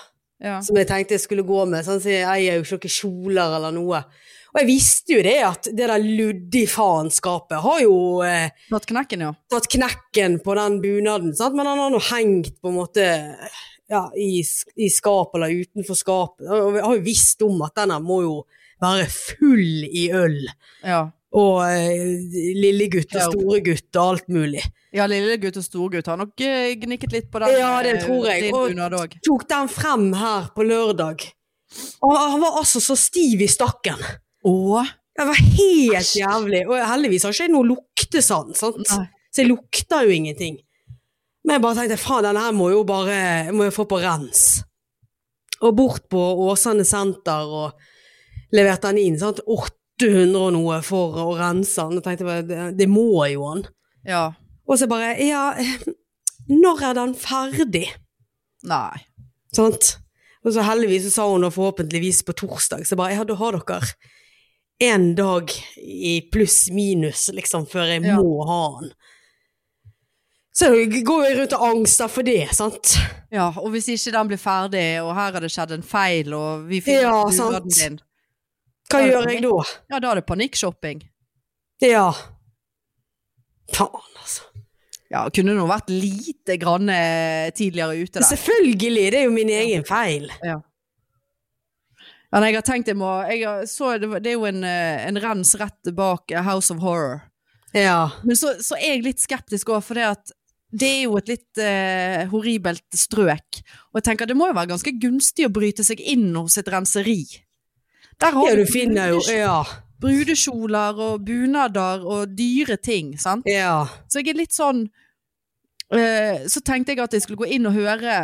S1: Ja.
S2: Som jeg tenkte jeg skulle gå med. Sånn, så jeg eier jo ikke noen kjoler eller noe. Og jeg visste jo det at det der luddig-faenskapet har jo eh,
S1: Tatt knekken, ja.
S2: tatt knekken på den bunaden, sant? men han har nå hengt på en måte ja, i, sk- i skap eller utenfor skap. Og jeg har jo visst om at denne må jo være full i øl,
S1: Ja,
S2: og eh, lillegutt og
S1: Ja.
S2: storegutt og alt mulig.
S1: ja lillegutt og storgutt har nok eh, gnikket litt på den.
S2: Ja, det
S1: eh,
S2: tror jeg,
S1: Din
S2: og-
S1: bunad òg.
S2: Tok den frem her på lørdag, og han var altså så stiv i stakken.
S1: Å,
S2: Det var helt jævlig, og heldigvis har ikke jeg noe luktesand, sant?
S1: Nei.
S2: Så jeg lukter jo ingenting. Men jeg bare tenkte, faen, denne her må jo bare, må jeg få på rens. Og bort på Åsane Senter og leverte den inn, sant? 800 og noe for å rense den. Og tenkte jeg, bare, det, det må jo han.
S1: ja.
S2: Og så bare, ja, eh, når er den ferdig?
S1: Nei.
S2: Sant? Og så heldigvis så sa hun da forhåpentligvis på torsdag, så bare, ja, da har dere en dag i pluss minus, liksom, før jeg
S1: Ja.
S2: må ha den. Så går jeg rundt og angster for det, sant?
S1: Ja, og hvis ikke den blir ferdig, og her har det skjedd en feil, og vi finner
S2: Ja,
S1: ut
S2: sant.
S1: bunaden din,
S2: Hva
S1: Ja,
S2: gjør jeg da?
S1: ja, da er det panikkshopping.
S2: Ja. Faen, altså.
S1: Ja, kunne nå vært lite grann eh, tidligere ute der.
S2: Selvfølgelig, det er jo min egen feil.
S1: Ja, nei, jeg har tenkt jeg må jeg har- så, det, var- det er jo en, eh, en rens rett bak eh, House of Horror.
S2: Ja.
S1: Men så, så er jeg litt skeptisk òg, for det, at det er jo et litt eh, horribelt strøk. Og jeg tenker det må jo være ganske gunstig å bryte seg inn hos et renseri. Der har
S2: Ja, du
S1: brudesk-
S2: finner jo, ja,
S1: brudekjoler og bunader og dyre ting, sant.
S2: ja.
S1: Så jeg er litt sånn eh, Så tenkte jeg at jeg skulle gå inn og høre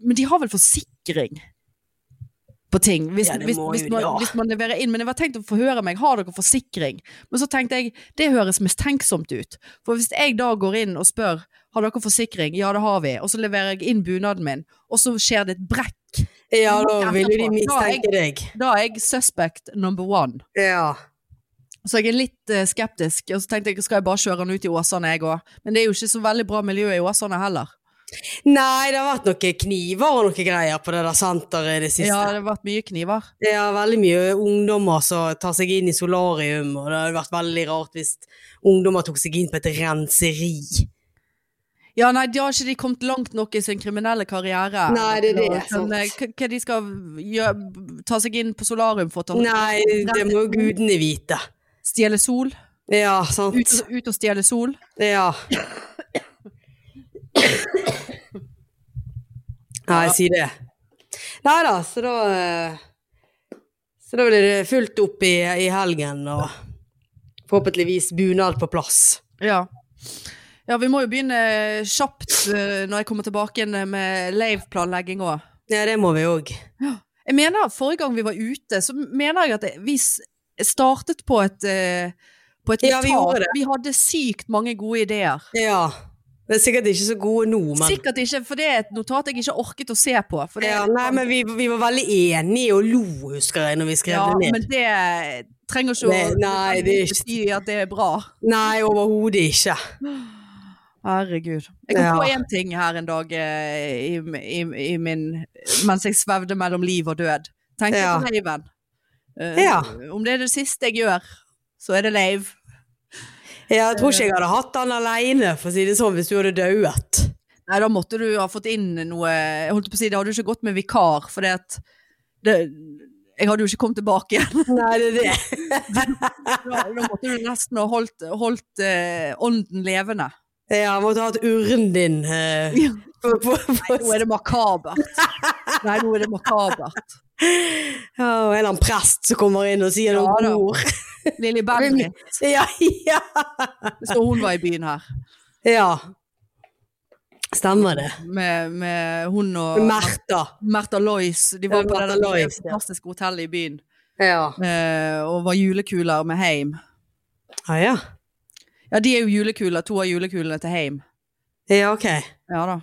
S1: Men de har vel forsikring på ting? Hvis,
S2: Ja, det
S1: hvis,
S2: må
S1: hvis,
S2: jo
S1: man,
S2: de ha.
S1: hvis man leverer inn. Men jeg var tenkt å forhøre meg. Har dere forsikring? Men så tenkte jeg det høres mistenksomt ut. For hvis jeg da går inn og spør har dere forsikring, ja det har vi, og så leverer jeg inn bunaden min, og så skjer det et brekk,
S2: Ja, da vil jo
S1: Etterpå. Da
S2: de
S1: er jeg-
S2: mistenke deg.
S1: da er jeg suspect number one.
S2: Ja.
S1: Så jeg er litt eh, skeptisk, og så tenkte jeg skal jeg bare kjøre den ut i Åsane jeg òg. Men det er jo ikke så veldig bra miljø i Åsane heller.
S2: Nei, det har vært noen kniver og noen greier på det der senteret i det siste.
S1: Ja, det har vært mye kniver.
S2: Det er veldig mye ungdommer som tar seg inn i solarium, og det hadde vært veldig rart hvis ungdommer tok seg inn på et renseri.
S1: Ja, nei, de har ikke de kommet langt nok i sin kriminelle karriere.
S2: Nei, det er det,
S1: Og, sånn,
S2: sant.
S1: eh, Hva hva de skal gjø- ta seg inn på solarium for å ta-
S2: Nei, det må jo gudene vite.
S1: stjele sol?
S2: Ja,
S1: Ut,
S2: sant.
S1: ut og stjele sol?
S2: Ja. Nei, si det. Nei da, så da eh, Så da blir det fullt opp i, i helgen, og forhåpentligvis bunad på plass.
S1: Ja. Ja, vi må jo begynne kjapt eh, når jeg kommer tilbake igjen eh, med lave-planlegging òg.
S2: Ja, det må vi òg.
S1: Jeg mener, forrige gang vi var ute, så mener jeg at vi s- startet på et eh, på et
S2: Ja, vi
S1: notat.
S2: gjorde det.
S1: vi hadde sykt mange gode ideer.
S2: Ja. Vi er sikkert ikke så gode nå, men
S1: Sikkert ikke, for det er et notat jeg ikke orket å se på. For det,
S2: ja, Nei, men vi, vi var veldig enige og lo, husker jeg, når vi skrev
S1: ja,
S2: det ned.
S1: men det trenger ikke
S2: Det- nei, det er ikke-
S1: si at det er bra.
S2: Nei, overhodet ikke.
S1: Herregud. Jeg kom
S2: Ja.
S1: på én ting her en dag eh, i, i, i min, mens jeg svevde mellom liv og død. Tenkte
S2: Ja.
S1: på laven. Eh,
S2: Ja.
S1: Om det er det siste jeg gjør, så er det lave.
S2: Jeg tror ikke jeg hadde hatt han aleine, for å si det sånn, hvis du hadde dauet.
S1: Nei, da måtte du ha fått inn noe Jeg holdt på å si, det hadde jo ikke gått med vikar, for det at det, Jeg hadde jo ikke kommet tilbake (laughs) igjen.
S2: Nei, det er det.
S1: Da, da måtte du nesten ha holdt, holdt eh, ånden levende.
S2: Ja, måtte ha hatt urnen din eh,
S1: Ja.
S2: på, på, på,
S1: Nå er det makabert. (laughs) Nei, nå er det makabert.
S2: ja, og En eller annen prest som kommer inn og sier
S1: Ja,
S2: noen
S1: da.
S2: ord.
S1: Lilly Bendriss,
S2: Ja, ja.
S1: så hun var i byen her.
S2: ja. Stemmer det.
S1: Med, med hun og
S2: Märtha.
S1: Märtha Lois. De var
S2: Ja,
S1: på
S2: Märtha
S1: det der
S2: Lois, ja.
S1: fantastiske hotellet i byen
S2: Ja.
S1: eh, og var julekuler med Heim.
S2: Ah, ja.
S1: Ja, de er jo julekuler, to av julekulene til Heim.
S2: ja, ok.
S1: Ja da.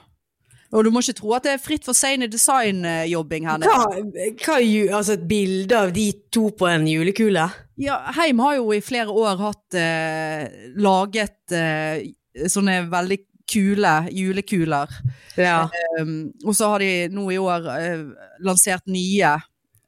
S1: Og du må ikke tro at det er fritt for sein designjobbing her nede.
S2: Hva, hva, ju- altså et bilde av de to på en julekule?
S1: Ja, Heim har jo i flere år hatt eh, laget eh, sånne veldig kule julekuler.
S2: Ja.
S1: Um, og så har de nå i år eh, lansert nye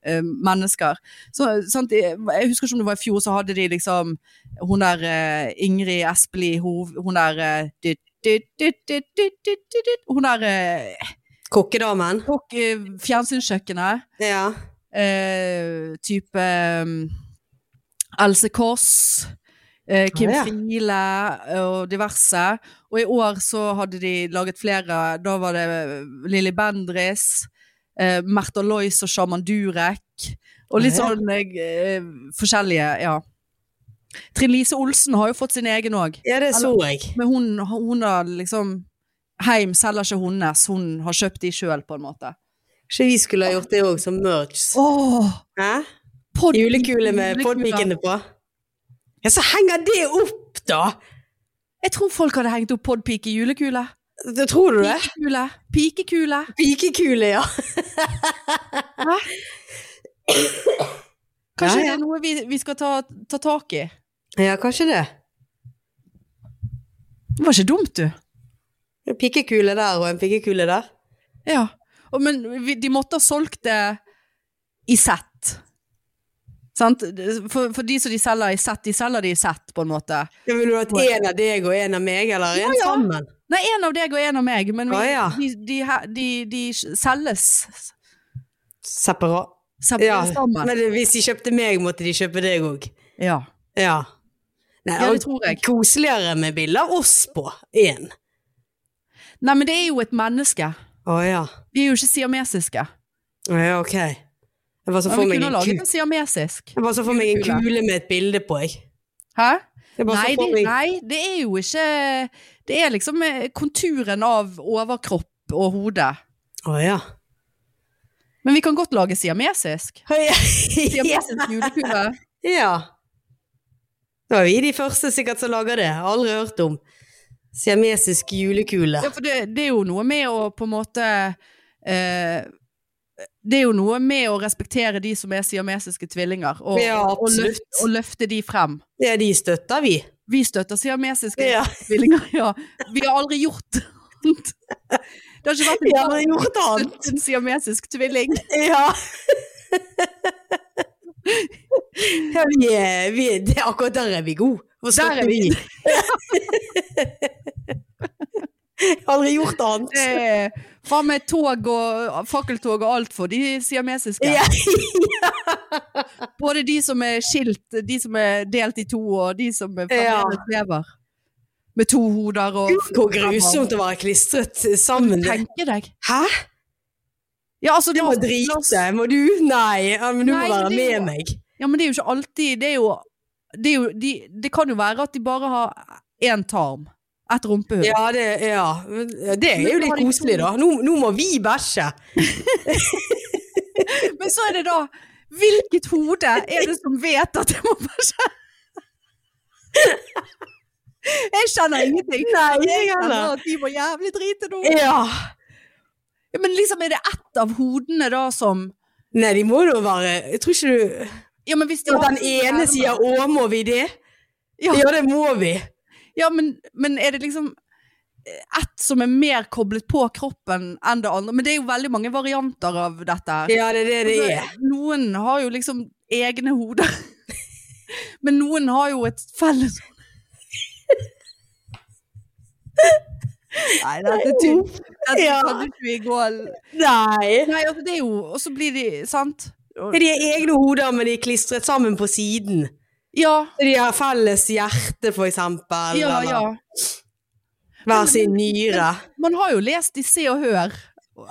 S1: eh, mennesker. Så, sant, jeg jeg husker ikke om det var i fjor, så hadde de liksom hun der eh, Ingrid Espelid, hov- hun der eh, dytt, dytt, dytt, dytt, dytt, dytt, dytt, dytt. Hun der eh,
S2: Kokkedamen.
S1: kokk i fjernsynskjøkkenet.
S2: Ja.
S1: eh, type um, Else Kåss, eh, Kim
S2: Ah, ja.
S1: Friele og diverse. Og i år så hadde de laget flere. Da var det eh, Lilly Bendriss, eh, Märtha Lois og Shaman Durek. Og litt
S2: Ah, ja.
S1: sånn eh, forskjellige, ja. Trine Lise Olsen har jo fått sin egen òg.
S2: ja, det så jeg.
S1: Men hun, hun har liksom Heim selger ikke hennes, hun har kjøpt de sjøl, på en måte.
S2: Ikke vi skulle ha gjort det òg, som merch.
S1: Åh,
S2: Hæ?
S1: podd-
S2: Julekule med
S1: julekuler.
S2: podpikene på. Ja, så henger det opp, da!
S1: Jeg tror folk hadde hengt opp podpike i julekule.
S2: Det tror du det?
S1: Pikekule. Pikekule.
S2: Pikekule, ja.
S1: Hæ? Kanskje
S2: Ja,
S1: det
S2: ja.
S1: er noe vi, vi skal ta, ta tak i.
S2: Ja, kanskje det.
S1: Det var ikke dumt, du.
S2: En pikekule der og en pikekule der.
S1: Ja. Og, men vi, de måtte ha solgt det i sett. Sant? For, for de som de selger i sett, de selger det i sett, på en måte.
S2: Ja, vil du ha et en av deg og en av meg, eller en
S1: ja.
S2: sammen?
S1: Nei, en av deg og en av meg, men vi,
S2: Å, ja.
S1: de, de, he- de, de selges
S2: Separat.
S1: sam-
S2: Ja.
S1: sammen.
S2: Men hvis de kjøpte meg, måtte de kjøpe deg òg.
S1: Ja.
S2: Ja. Nei,
S1: Ja, det
S2: og
S1: tror jeg.
S2: Koseligere med bilde av oss på. Én.
S1: Nei, men det er jo et menneske.
S2: Å ja.
S1: Vi er jo ikke siamesiske.
S2: Å ja, ok. Jeg var så
S1: Men
S2: for
S1: vi
S2: meg
S1: kunne
S2: en
S1: ha laget
S2: ku-
S1: en siamesisk.
S2: jeg var så for meg en
S1: Julekule.
S2: kule med et bilde på, jeg.
S1: Hæ?
S2: jeg var så
S1: Nei
S2: for
S1: det,
S2: meg-
S1: nei, det er jo ikke Det er liksom eh, konturen av overkropp og hode.
S2: Å ja.
S1: Men vi kan godt lage
S2: (laughs)
S1: siamesisk. (laughs) Siamesisk julekule.
S2: ja. Da er vi de første sikkert som lager det. Jeg har aldri hørt om. Siamesisk julekule.
S1: Ja, for det, det er jo noe med å på en måte eh, Det er jo noe med å respektere de som er siamesiske tvillinger, og,
S2: Ja,
S1: og,
S2: absolutt.
S1: løfte, og løfte de frem.
S2: Ja, de støtter vi.
S1: Vi støtter siamesiske
S2: (laughs) Ja,
S1: tvillinger, ja. Vi har aldri gjort
S2: (laughs)
S1: annet. Det har ikke vært
S2: vi
S1: en
S2: har aldri gjort annet.
S1: støtte en siamesisk tvilling. (laughs)
S2: Ja. ja vi er, vi er, det, er akkurat der er vi gode. Hvor
S1: Der er
S2: støtter
S1: vi.
S2: Jeg har (laughs) aldri gjort annet.
S1: Det er
S2: altså.
S1: Hva med tog og fakkeltog og alt for de siamesiske?
S2: Ja.
S1: (laughs) Både de som er skilt, de som er delt i to, og de som er fremdeles lever. Med to hoder og
S2: Gud, Hvor grusomt å være klistret sammen.
S1: Tenke deg.
S2: Hæ?
S1: Ja, altså,
S2: Det
S1: la
S2: må
S1: oss- la oss-
S2: drite. Må du? Nei, ja, men du
S1: Nei,
S2: må være
S1: men det er
S2: med
S1: jo-
S2: meg.
S1: Ja, men det er jo ikke alltid Det er jo Det, er jo, de, det kan jo være at de bare har én tarm. Et rumpehull.
S2: Ja, det, ja. det er jo
S1: Men har
S2: litt
S1: de
S2: koselig, da. Nå, nå må vi bæsje.
S1: Men så er det da Hvilket hode er det som vet at det må bare skje? Jeg skjønner ingenting.
S2: Nei, jeg
S1: Jeg skjønner
S2: heller. Eh,
S1: at de må jævlig drite nå.
S2: Ja.
S1: Ja, Men liksom er det ett av hodene da som
S2: Nei, de må jo være Jeg tror ikke du
S1: Ja, men hvis de
S2: Så
S1: har
S2: den
S1: to
S2: ene
S1: hjerner-
S2: sier 'å, må vi det'?
S1: Ja.
S2: Ja, det må vi.
S1: Ja, men, men er det liksom ett som er mer koblet på kroppen enn det andre? Men det er jo veldig mange varianter av dette. her.
S2: Ja, det er det det er.
S1: Altså, Noen har jo liksom egne hoder. (laughs) Men noen har jo et felles (laughs) Nei, dette er tynt. Dette
S2: Ja.
S1: kan ikke vi gå
S2: Nei.
S1: Nei, altså det er jo Og så blir de Sant?
S2: Ja, De har egne hoder, men de er klistret sammen på siden.
S1: Ja.
S2: De har felles hjerte, for eksempel.
S1: Ja,
S2: eller
S1: ja.
S2: Hver sin nyre.
S1: Man har jo lest i Se og Hør,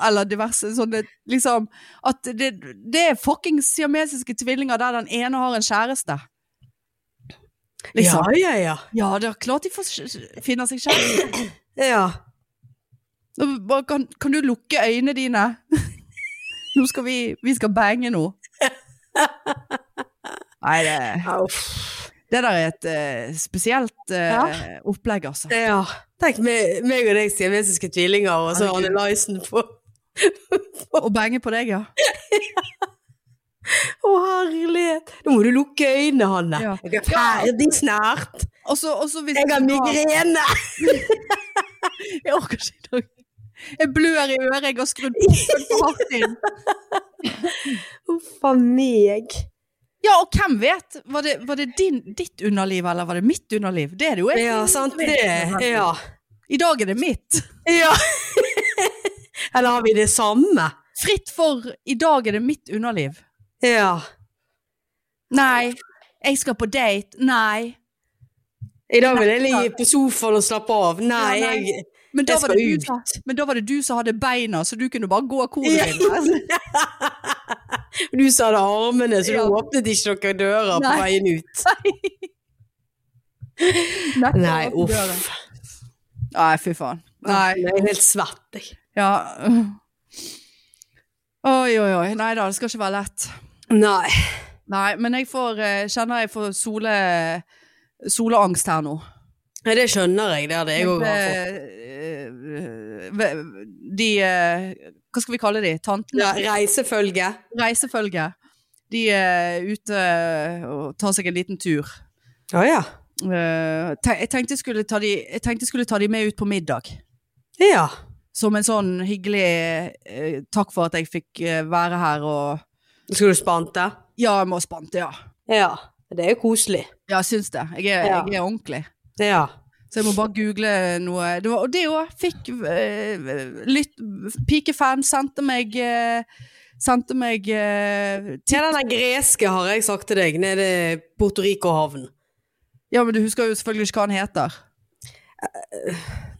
S1: eller diverse sånne liksom At det, det er fuckings siamesiske tvillinger der den ene har en kjæreste.
S2: Ja,
S1: Liksom.
S2: ja, ja.
S1: Ja, det er klart de får s- finne seg kjæreste.
S2: ja.
S1: Nå bare Kan, kan du lukke øynene dine? (laughs) Nå skal vi, vi skal bange nå. Nei, det,
S2: Ja, uff.
S1: det der er et eh, spesielt eh, opplegg, altså.
S2: ja. Tenk meg, meg og deg siamesiske tvillinger, og så
S1: Herregud.
S2: Arne Lysen på
S1: Å bange på deg, ja.
S2: Å, herlighet. Nå må du lukke øynene, Hanne.
S1: Ja.
S2: Jeg er ferdig snart.
S1: Og så, og så hvis
S2: Jeg har
S1: du da-
S2: migrene.
S1: Jeg orker ikke i dag. Jeg blør i øret, jeg har skrudd pumpen for hardt inn.
S2: Huff a meg.
S1: Ja, og hvem vet? Var det, var det din, ditt underliv, eller var det mitt underliv? Det er det jo jeg.
S2: Ja, sant det. Ja.
S1: I dag er det mitt.
S2: ja. (laughs) Eller har vi det samme?
S1: Fritt for i dag er det mitt underliv.
S2: Ja.
S1: Nei. Jeg skal på date. Nei.
S2: I dag vil jeg ligge på sofaen og slappe av. Nei,
S1: Ja, nei.
S2: jeg,
S1: Men da,
S2: jeg
S1: var
S2: skal
S1: det du, som-
S2: ut.
S1: men da var det du som hadde beina, så du kunne bare gå hvor du
S2: Ja.
S1: ville.
S2: (laughs) Du sa det armene, så
S1: Ja.
S2: du åpnet ikke noen dører på
S1: Nei.
S2: veien ut.
S1: Nettopp
S2: Nei,
S1: åpne døren.
S2: uff.
S1: Nei, fy faen. Nei.
S2: Jeg er helt svett, jeg.
S1: Ja. Oi, oi, oi. Nei da, det skal ikke være lett.
S2: Nei.
S1: Nei, men jeg får, eh, kjenner jeg får sole, soleangst her nå.
S2: Nei, det skjønner jeg. Det hadde jeg òg hatt.
S1: Eh, eh, De eh, Hva skal vi kalle de? Tantene?
S2: Ja, reisefølge.
S1: Reisefølge. De er ute og tar seg en liten tur.
S2: Å ja.
S1: Eh, te- Jeg tenkte jeg skulle ta de, jeg tenkte jeg skulle ta de med ut på middag.
S2: Ja.
S1: Som en sånn hyggelig eh, takk for at jeg fikk eh, være her og
S2: Skal du spante?
S1: Ja, jeg må spante, ja.
S2: Ja. Det er jo koselig.
S1: Ja, jeg syns det. Jeg er,
S2: Ja.
S1: jeg er ordentlig.
S2: Ja.
S1: Så jeg må bare google noe. Det var, og det òg fikk eh, lytt Pikefan sendte meg eh, Sendte meg eh,
S2: Ja, den der greske har jeg sagt til deg, nede i Puerto Rico-havn.
S1: Ja, men du husker jo selvfølgelig ikke hva han heter.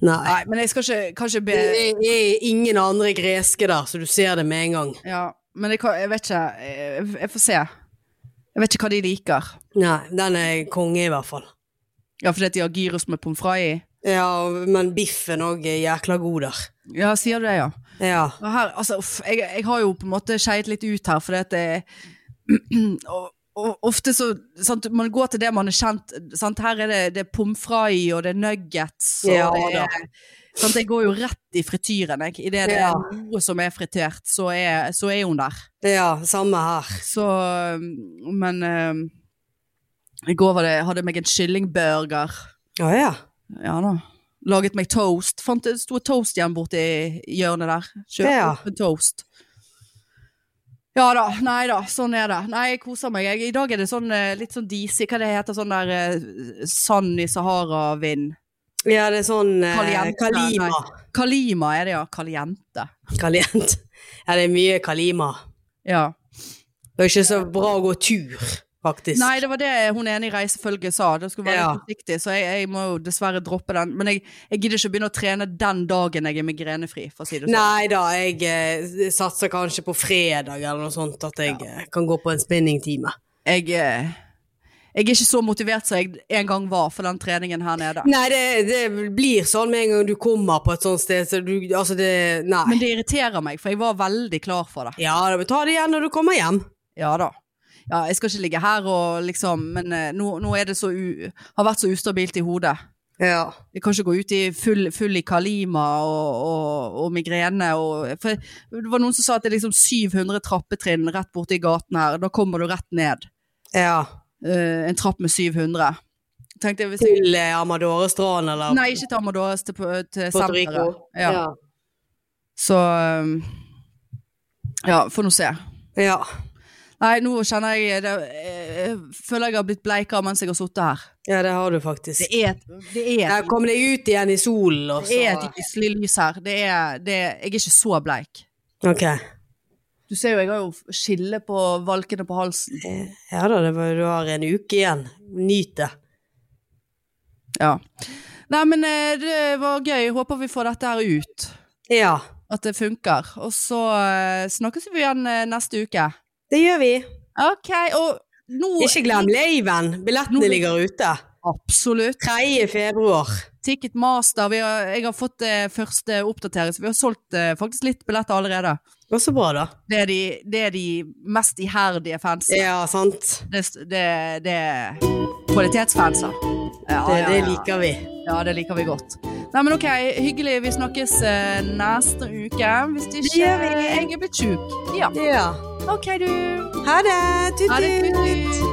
S2: Nei.
S1: Nei, men jeg skal ikke kanskje be
S2: Det er- det er ingen andre greske der, så du ser det med en gang.
S1: Ja, men jeg, kan, jeg vet ikke. Jeg, jeg får se. Jeg vet ikke hva de liker.
S2: Nei, den er konge i hvert fall.
S1: Ja, fordi at de har gyros med pommes frites i?
S2: Ja, men biffen òg er jækla god der.
S1: Ja, sier du det, ja.
S2: Ja.
S1: Og her, altså, uff, jeg, jeg har jo på en måte skeiet litt ut her, fordi at det (clears throat) og, og ofte så sant, Man går til det man er kjent sant? Her er det, det er pommes frites, og det er nuggets, og
S2: Ja,
S1: det
S2: da.
S1: er sant? Jeg går jo rett i frityren, jeg. Idet det
S2: Ja.
S1: er noe som er fritert, så er, så er hun der.
S2: ja, samme her.
S1: Så Men eh, I går var det, hadde jeg meg en kyllingburger.
S2: Å ja.
S1: Ja da. Laget meg toast. Fant det sto et toast igjen borti hjørnet der. Kjøpte
S2: Ja.
S1: opp en toast. Ja da, nei da, sånn er det. Nei, jeg koser meg. Jeg, I dag er det sånn eh, litt sånn disig, hva det heter, sånn der eh, sand i Sahara-vind.
S2: Ja, det er sånn eh,
S1: Caliente,
S2: Kalima.
S1: nei. Kalima er det, ja. Kaliente.
S2: Kalient. Ja, det er mye Kalima.
S1: Ja.
S2: Det er ikke så bra å gå tur, faktisk.
S1: Nei, det var det hun ene i reisefølget sa, det skulle være
S2: Ja.
S1: litt forsiktig, så jeg, jeg må jo dessverre droppe den. Men jeg, jeg gidder ikke å begynne å trene den dagen jeg er migrenefri, for å si det sånn.
S2: Nei da, jeg eh, satser kanskje på fredag eller noe sånt, at jeg eh, kan gå på en spinningtime.
S1: jeg, eh, jeg er ikke så motivert som jeg en gang var for den treningen her nede.
S2: Nei, det, det blir sånn med en gang du kommer på et sånt sted, så du Altså, det Nei.
S1: Men det irriterer meg, for jeg var veldig klar for det.
S2: Ja, da, men ta det igjen når du kommer hjem.
S1: Ja da. Ja, jeg skal ikke ligge her og liksom Men eh, nå, nå er det så u, har vært så ustabilt i hodet.
S2: Ja.
S1: Jeg kan ikke gå ut i full, full i kalima og, og, og migrene og For det var noen som sa at det er liksom 700 trappetrinn rett borte i gaten her. Da kommer du rett ned.
S2: ja.
S1: Eh, en trapp med 700. Tenkte jeg hvis jeg
S2: Til eh, Amadorestrand eller
S1: Nei, ikke til Amadores, til, til
S2: Puerto Rico.
S1: senteret. Ja. Så um, Ja, får nå se.
S2: ja.
S1: Nei, nå kjenner jeg det, Jeg føler jeg har blitt bleikere mens jeg har sittet her.
S2: Ja, det har du faktisk.
S1: Det er et, det er
S2: Ja,
S1: et,
S2: kom deg ut igjen i solen, og
S1: det er
S2: så
S1: et lyselig lys her. Det er, det, jeg er ikke så bleik.
S2: Ok.
S1: Du ser jo, jeg har jo skille på valkene på halsen.
S2: Eh, Ja da, det var, du har en uke igjen. Nyt det.
S1: Ja. Nei, men eh, det var gøy. Jeg Håper vi får dette her ut.
S2: Ja.
S1: At det funker. Og så eh, snakkes vi igjen eh, neste uke.
S2: Det gjør vi.
S1: OK, og nå
S2: Ikke glem laven.
S1: Nå-
S2: Billettene ligger ute.
S1: Absolutt.
S2: 3. februar.
S1: Ticketmaster. Vi har, jeg har fått eh, første oppdatering, så vi har solgt eh, faktisk litt billetter allerede.
S2: Det var så bra, da.
S1: Det er de, det er de mest iherdige fansen.
S2: Ja, sant.
S1: Det, det, det er kvalitetsfanser. Ja,
S2: Det,
S1: ja,
S2: det
S1: ja.
S2: liker vi.
S1: Ja, det liker vi godt. Nei, men ok, hyggelig. Vi snakkes eh, neste uke. Hvis
S2: Det
S1: ikke eh,
S2: gjør vi.
S1: jeg er blitt sjuk. Ja.
S2: Ja.
S1: Ha
S2: OK, du.
S1: Ha det!
S2: Ha det.
S1: Tutti!
S2: Tut, tut.